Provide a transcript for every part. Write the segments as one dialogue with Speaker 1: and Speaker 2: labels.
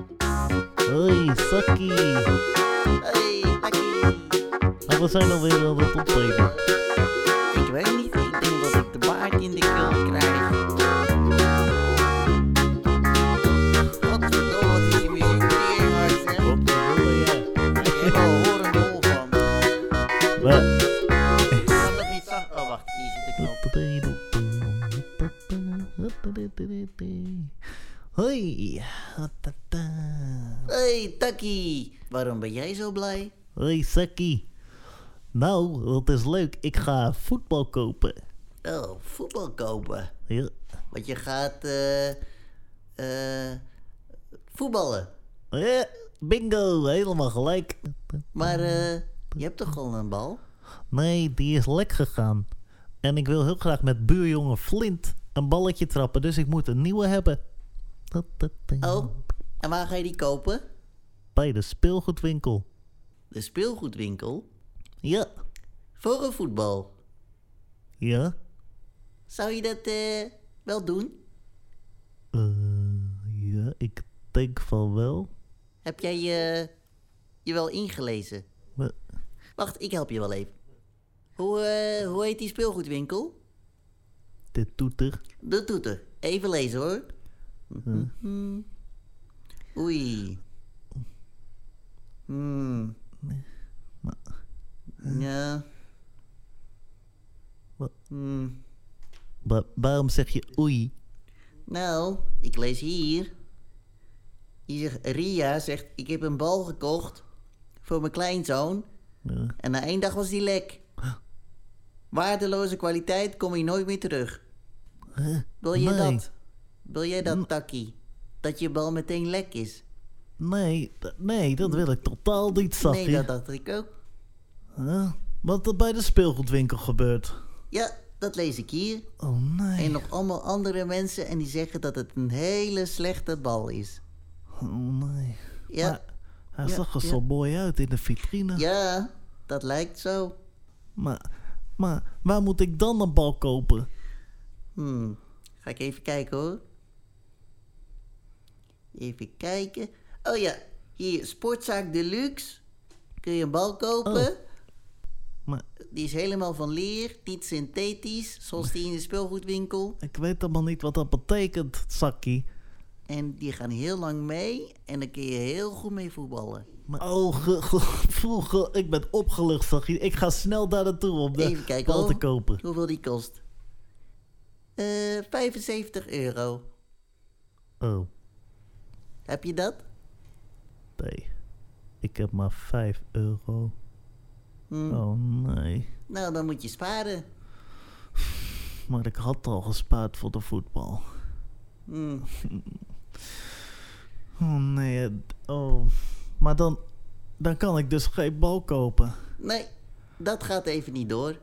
Speaker 1: Oi, só que
Speaker 2: Oi, aqui.
Speaker 1: a você não veio onde eu tô peido.
Speaker 2: Ik weet niet, ik denk dat ik de baard in de keel krijg. Godverdomme, wat is die muziek weer hard, zeg.
Speaker 1: Wat bedoel je?
Speaker 2: Maar je hebt al horen dol van.
Speaker 1: Wat?
Speaker 2: Kan dat niet zacht? Oh, wacht, hier zit de knop.
Speaker 1: Hoi.
Speaker 2: Hey, Takkie. Waarom ben jij zo blij?
Speaker 1: Hoi, Saki. Nou, dat is leuk. Ik ga voetbal kopen.
Speaker 2: Oh, voetbal kopen.
Speaker 1: Ja,
Speaker 2: Want je gaat, eh... eh, voetballen.
Speaker 1: Eh, bingo, helemaal gelijk.
Speaker 2: Maar, eh, je hebt toch al een bal?
Speaker 1: Nee, die is lek gegaan. En ik wil heel graag met buurjongen Flint een balletje trappen, dus ik moet een nieuwe hebben.
Speaker 2: Oh, en waar ga je die kopen?
Speaker 1: Bij de speelgoedwinkel.
Speaker 2: De speelgoedwinkel?
Speaker 1: Ja,
Speaker 2: Voor een voetbal.
Speaker 1: ja.
Speaker 2: Zou je dat eh, wel doen?
Speaker 1: Eh, ja, ik denk van wel.
Speaker 2: Heb jij je, je wel ingelezen?
Speaker 1: Maar-
Speaker 2: Wacht, ik help je wel even. Hoe, eh, hoe heet die speelgoedwinkel?
Speaker 1: Dit doet er.
Speaker 2: De toeter. Even lezen hoor. Mhm. Oei. Hmm. Ja.
Speaker 1: Wat?
Speaker 2: Hmm.
Speaker 1: Wa- waarom zeg je oei?
Speaker 2: Nou, ik lees hier. Hier zegt Ria zegt, ik heb een bal gekocht voor mijn kleinzoon.
Speaker 1: Eh,
Speaker 2: En na één dag was die lek. Waardeloze kwaliteit, kom je nooit meer terug. Wil je
Speaker 1: nee.
Speaker 2: dat? Wil jij
Speaker 1: Mm.
Speaker 2: dat, Takkie? Dat je bal meteen lek is?
Speaker 1: nee, d- nee, dat wil ik totaal niet, Sakkie.
Speaker 2: Nee, dat dacht ik ook.
Speaker 1: Eh, wat er bij de speelgoedwinkel gebeurt.
Speaker 2: Ja, dat lees ik hier.
Speaker 1: Oh nee.
Speaker 2: En nog allemaal andere mensen en die zeggen dat het een hele slechte bal is.
Speaker 1: Oh nee.
Speaker 2: Ja,
Speaker 1: Maar eh. hij
Speaker 2: Ja,
Speaker 1: zag er
Speaker 2: ja.
Speaker 1: zo mooi uit in de vitrine.
Speaker 2: ja, dat lijkt zo.
Speaker 1: Maar, maar waar moet ik dan een bal kopen?
Speaker 2: Hmm, ga ik even kijken hoor. Even kijken. Oh ja, hier, Sportzaak Deluxe. Kun je een bal kopen.
Speaker 1: Maar
Speaker 2: Die is helemaal van leer, niet synthetisch, zoals die in de speelgoedwinkel.
Speaker 1: ik weet helemaal niet wat dat betekent, Sakkie.
Speaker 2: En die gaan heel lang mee en daar kun je heel goed mee voetballen.
Speaker 1: Maar, oh, ge, ge- voel ge- ik ben opgelucht, Sakkie. Ik ga snel daar naartoe om de
Speaker 2: Even kijken
Speaker 1: bal
Speaker 2: hoor.
Speaker 1: te kopen.
Speaker 2: Hoeveel die kost? Eh 75 euro.
Speaker 1: Oh,
Speaker 2: Heb je dat?
Speaker 1: nee. Ik heb maar 5 euro.
Speaker 2: Hmm.
Speaker 1: Oh nee.
Speaker 2: Nou, dan moet je sparen.
Speaker 1: Maar ik had al gespaard voor de voetbal.
Speaker 2: Hmm.
Speaker 1: Oh nee. het- Oh. Maar dan, dan kan ik dus geen bal kopen.
Speaker 2: Nee, dat gaat even niet door.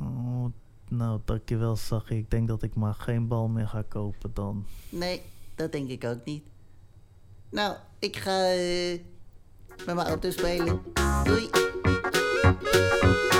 Speaker 1: Oh, nou, dankjewel, Sachi. Ik denk dat ik maar geen bal meer ga kopen dan.
Speaker 2: Nee, dat denk ik ook niet. Nou, ik ga eh, met mijn auto spelen. Doei.